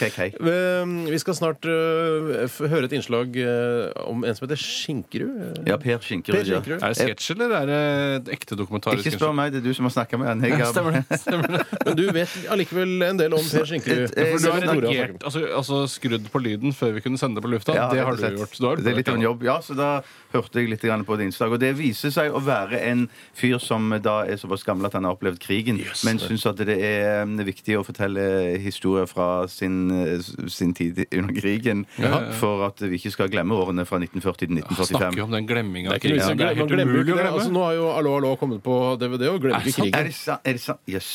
Hei, hei. Eh, Vi skal snart eh, f- høre et innslag eh, om en som heter Skinkerud. Ja, Per Skinkerud. Per Skinkerud. Er det sketsj, eller er det et ekte Ja. Ikke dokumentarisk? spør meg, det er du som har snakka med han. Jeg har- Stemmer det. Stemmer det. Men du vet allikevel en del om Per Skinkerud. Et- et- For du har Selv om Tore har reagert, snakket altså, altså skrudd på lyden før vi kunne sende det på lufta. Ja, det rett har og du slett. gjort. Du har det er litt av en jobb, ja, så da hørte jeg litt grann på det innslaget. Og det viser seg å være en fyr som da er såpass gammel at han har opplevd krigen, men syns at det er um, viktig å fortelle historier fra sin, uh, sin tid under krigen. For at vi ikke skal glemme årene fra 1940 til Ah, Snakker 1945. jo om den glemminga av om. krigen. Det er Man helt glemmer jo umulig ikke å det. glemme. Altså, nå har jo Allo Allo kommet på DVD og Er glemmer det ikke sant? krigen. Er det sant? Er det sant? Yes.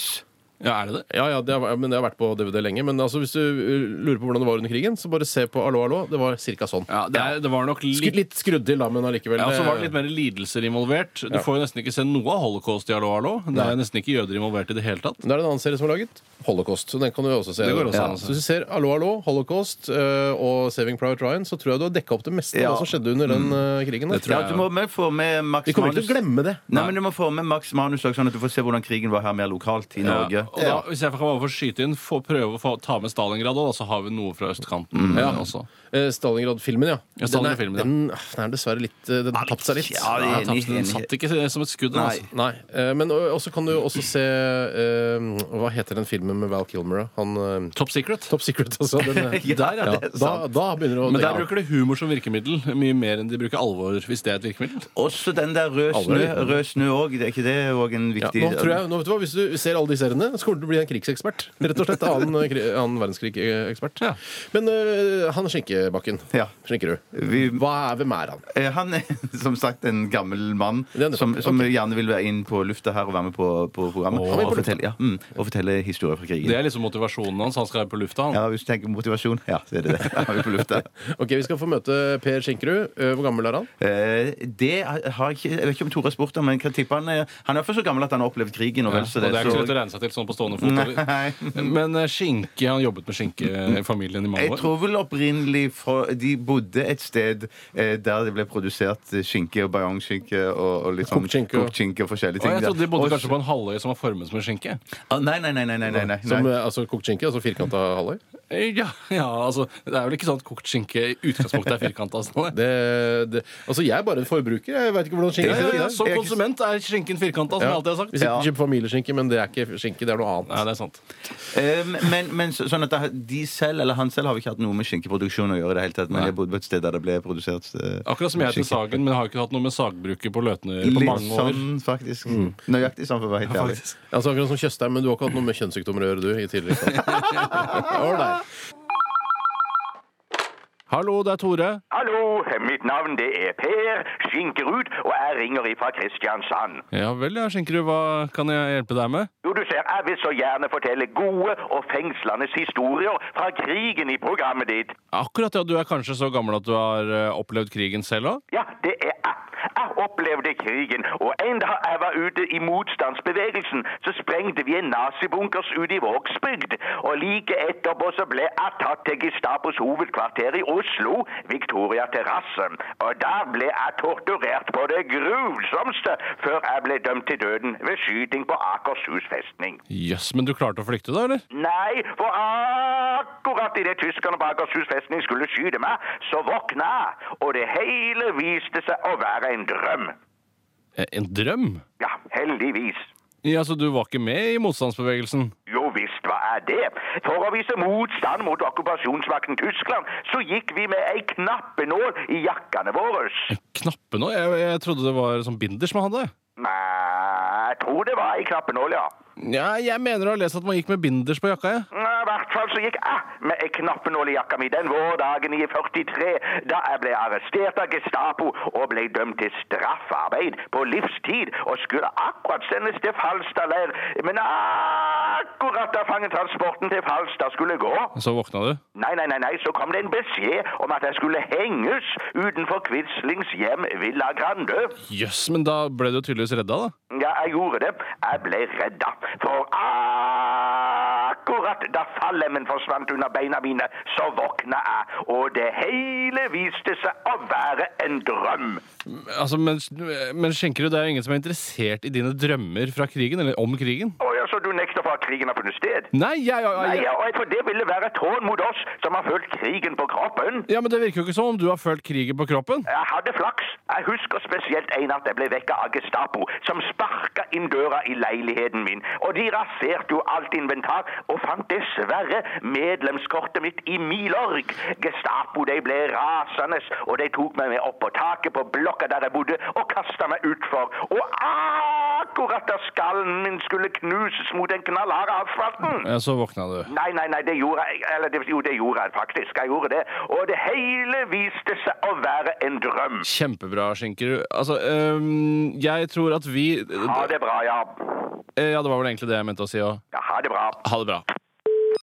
Ja, er det det? Ja, ja, det har, men det har vært på DVD lenge. Men altså, hvis du uh, lurer på hvordan det var under krigen, så bare se på Allo, allo. Det var cirka sånn. Ja, det, er, det var nok Skru- litt litt skrudd til, da, men allikevel. ja, så var det litt mer lidelser involvert. Du får jo nesten ikke se noe av holocaust i Hallo, hallo. Det er nesten ikke jøder involvert i det hele tatt. Men Det er en annen serie som er laget. Holocaust. Så den kan du jo også se. Det går også ja. an å se. Så hvis du ser Allo, allo, Holocaust øh, og Saving Private Ryan, så tror jeg du har dekka opp det meste av Ja. det som skjedde under den øh, krigen. da. Mm. Det tror jeg. Ja, du må med, få med Max Vi kommer ikke til å Manus. glemme det. Nei, men du må få med Max Manus også, sånn at du får se hvordan krigen var her mer lokalt i Norge. Ja. Og da, hvis jeg kan bare få skyte inn, få prøve å få, ta med Stalingrad òg, så har vi noe fra østkanten. Ja. Mm. Også. Eh, Stalingrad-filmen, ja. Ja, Stalingrad-filmen, ja. den, er- den, den er dessverre litt øh, Den har tapt seg litt. Ja, Ja, enig, Tapsen enig. satt ikke som et skudd. Nei. Altså. Nei, eh, men øh, også kan du jo også se eh, Hva heter den filmen med Val Kilmer, da? Han eh, Top Secret. Top Secret, altså. Den, eh, Ja, der, ja, ja. det er Da, sant. da begynner det å Men der bruker de humor som virkemiddel mye mer enn de bruker alvor. hvis det er et virkemiddel. Også den der rød Alle snø er like. Rød snø òg. Er ikke det òg en ja, viktig nå tror jeg, nå vet du hva, Hvis du ser alle de seriene, så kommer du til å bli en krigsekspert. Rett og slett Annen, eh, kri- annen verdenskrig-ekspert. Ja. Men øh, han Skinkebakken, Ja. Skinkerud, Vi- hva er, hvem er han? Eh, Han er som sagt en gammel mann Det er nettopp. som, som gjerne vil være inn på lufta her og være med på, på programmet. Han er på og, lufta. fortelle, ja, mm, og fortelle historier fra krigen. Det er liksom motivasjonen hans. Han skal være på lufta. han. Ja, Hvis du tenker motivasjon, ja, så er det det. Da er vi på lufta. Ok, Vi skal få møte Per Skinkerud. Eh, Hvor gammel er han? Eh, Det har jeg ikke Jeg vet ikke om Tore har spurt om, men kan tippe han er Han er iallfall så gammel at han har opplevd krigen. Og Ja, vel, så og det er ikke så lett å regne seg til sånn på stående fot. eller? Nei. Men eh, skinke, han jobbet med skinke i familien i mange Jeg år. tror vel opprinnelig fra, De bodde et sted eh, der det ble produsert eh, skinke og bajongskinke og, og litt sånn Kokt skinke og- kokt skinke og forskjellige Og ting. jeg trodde de bodde kanskje på på en halvøy som var formet som en skinke. Nei, nei, nei. nei, nei, nei, nei. Som eh, altså, kokt skinke? Altså firkanta halvøy? Eh, Ja, ja, altså, Det er vel ikke sånn at kokt skinke i utgangspunktet er firkanta? Sånn. Det, det, altså, jeg er bare en forbruker. Jeg veit ikke hvordan skinke Ja, ja, er. ja, sånn som konsument er skinken firkanta, som jeg alltid har sagt. Hvis ikke Ja. kjøper familieskinke, men det er ikke skinke, det er noe annet. Nei, det er sant. Eh, men men så, sånn at det- de selv, eller han selv, har vel ikke hatt noe med skinkeproduksjon å gjøre i det hele tatt. Men Nei. jeg bodde på et sted der det ble produsert eh, Akkurat som jeg til skinke. Sagen, men har ikke hatt noe med sagbruket på Løten å gjøre på Litt mange år. Mm. sånn, faktisk. Nøyaktig sånn, for å være helt ærlig. Altså akkurat som Tjøstheim, men du har ikke hatt noe med kjønnssykdommer å gjøre, du? i tidligere Ålreit. Hallo, det er Tore. Hallo, mitt navn det er Per Skinkerud, og jeg ringer ifra Kristiansand. Ja vel, ja, Skinkerud. Hva kan jeg hjelpe deg med? Jo, du ser, jeg vil så gjerne fortelle gode og fengslandes historier fra krigen i programmet ditt. Akkurat, ja. Du er kanskje så gammel at du har eh, opplevd krigen selv òg? Ja, det er jeg. Jeg opplevde krigen, og en dag jeg var ute i motstandsbevegelsen, så sprengte vi en nazibunkers ute i Vågsbygd, og like etterpå så ble jeg tatt til Gestapos hovedkvarter i Oslo, Victoria Terrasse, og der ble jeg torturert på det grusomste før jeg ble dømt til døden ved skyting på Akershus festning. Jøss, men du klarte å flykte da, eller? Nei, for akkurat idet tyskerne på Akershus festning skulle skyte meg, så våkna jeg, og det hele viste seg å være en drøm. Eh, En drøm? Ja, heldigvis. Ja, så du var ikke med i motstandsbevegelsen? Jo visst var jeg det. For å vise motstand mot okkupasjonsmakten Tyskland, så gikk vi med ei knappenål i jakkene våre. Eh, Knappe nå? Jeg, jeg trodde det var sånn binders man hadde. Nei, jeg tror det var ei knappenål, ja. Ja, jeg mener å ha lest at man gikk med binders på jakka, jeg. Nei, I hvert fall så gikk jeg med ei knappenål i jakka mi den vårdagen i 43, da jeg ble arrestert av Gestapo og ble dømt til straffarbeid på livstid og skulle akkurat sendes til Falstad leir, men akkurat da fangetransporten til Falstad skulle gå Så våkna du. Nei, nei, nei, nei, så kom det en beskjed om at jeg skulle henges utenfor Quislings hjem Villa Grande. Jøss, men da ble du tydeligvis redda, da. Ja, jeg gjorde det. Jeg ble redda. For akkurat da fallemmen forsvant under beina mine, så våkna jeg, og det hele viste seg å være en drøm. Altså, men, men Skjenkerud, det er jo ingen som er interessert i dine drømmer fra krigen, eller om krigen? Å ja, så du nekter Kristoffer, at krigen har funnet sted? Nei, jeg, jeg, Nei, jeg, ja, og jeg tror det ville være et hån mot oss som har følt krigen på kroppen. Ja, men Det virker jo ikke som om du har følt krigen på kroppen. Jeg hadde flaks. Jeg husker spesielt en at jeg ble vekket av Gestapo, som sparka inn døra i leiligheten min. Og de raserte jo alt inventar, og fant dessverre medlemskortet mitt i milorg. Gestapo de ble rasende, og de tok meg med opp på taket på blokka der jeg bodde, og kasta meg utfor. Og akkurat da skallen min skulle knuses mot den knallharde asfalten Ja, Så våkna du. Nei, nei, nei, det gjorde jeg. Eller det, jo, det gjorde jeg faktisk. Jeg gjorde det. Og det hele viste seg å være en drøm. Kjempebra, Skinkerud. Altså, øhm, jeg tror at vi Ha det bra, ja. Eh, Ja, det var vel egentlig det jeg mente å si òg. ja ha det bra. Ha det bra.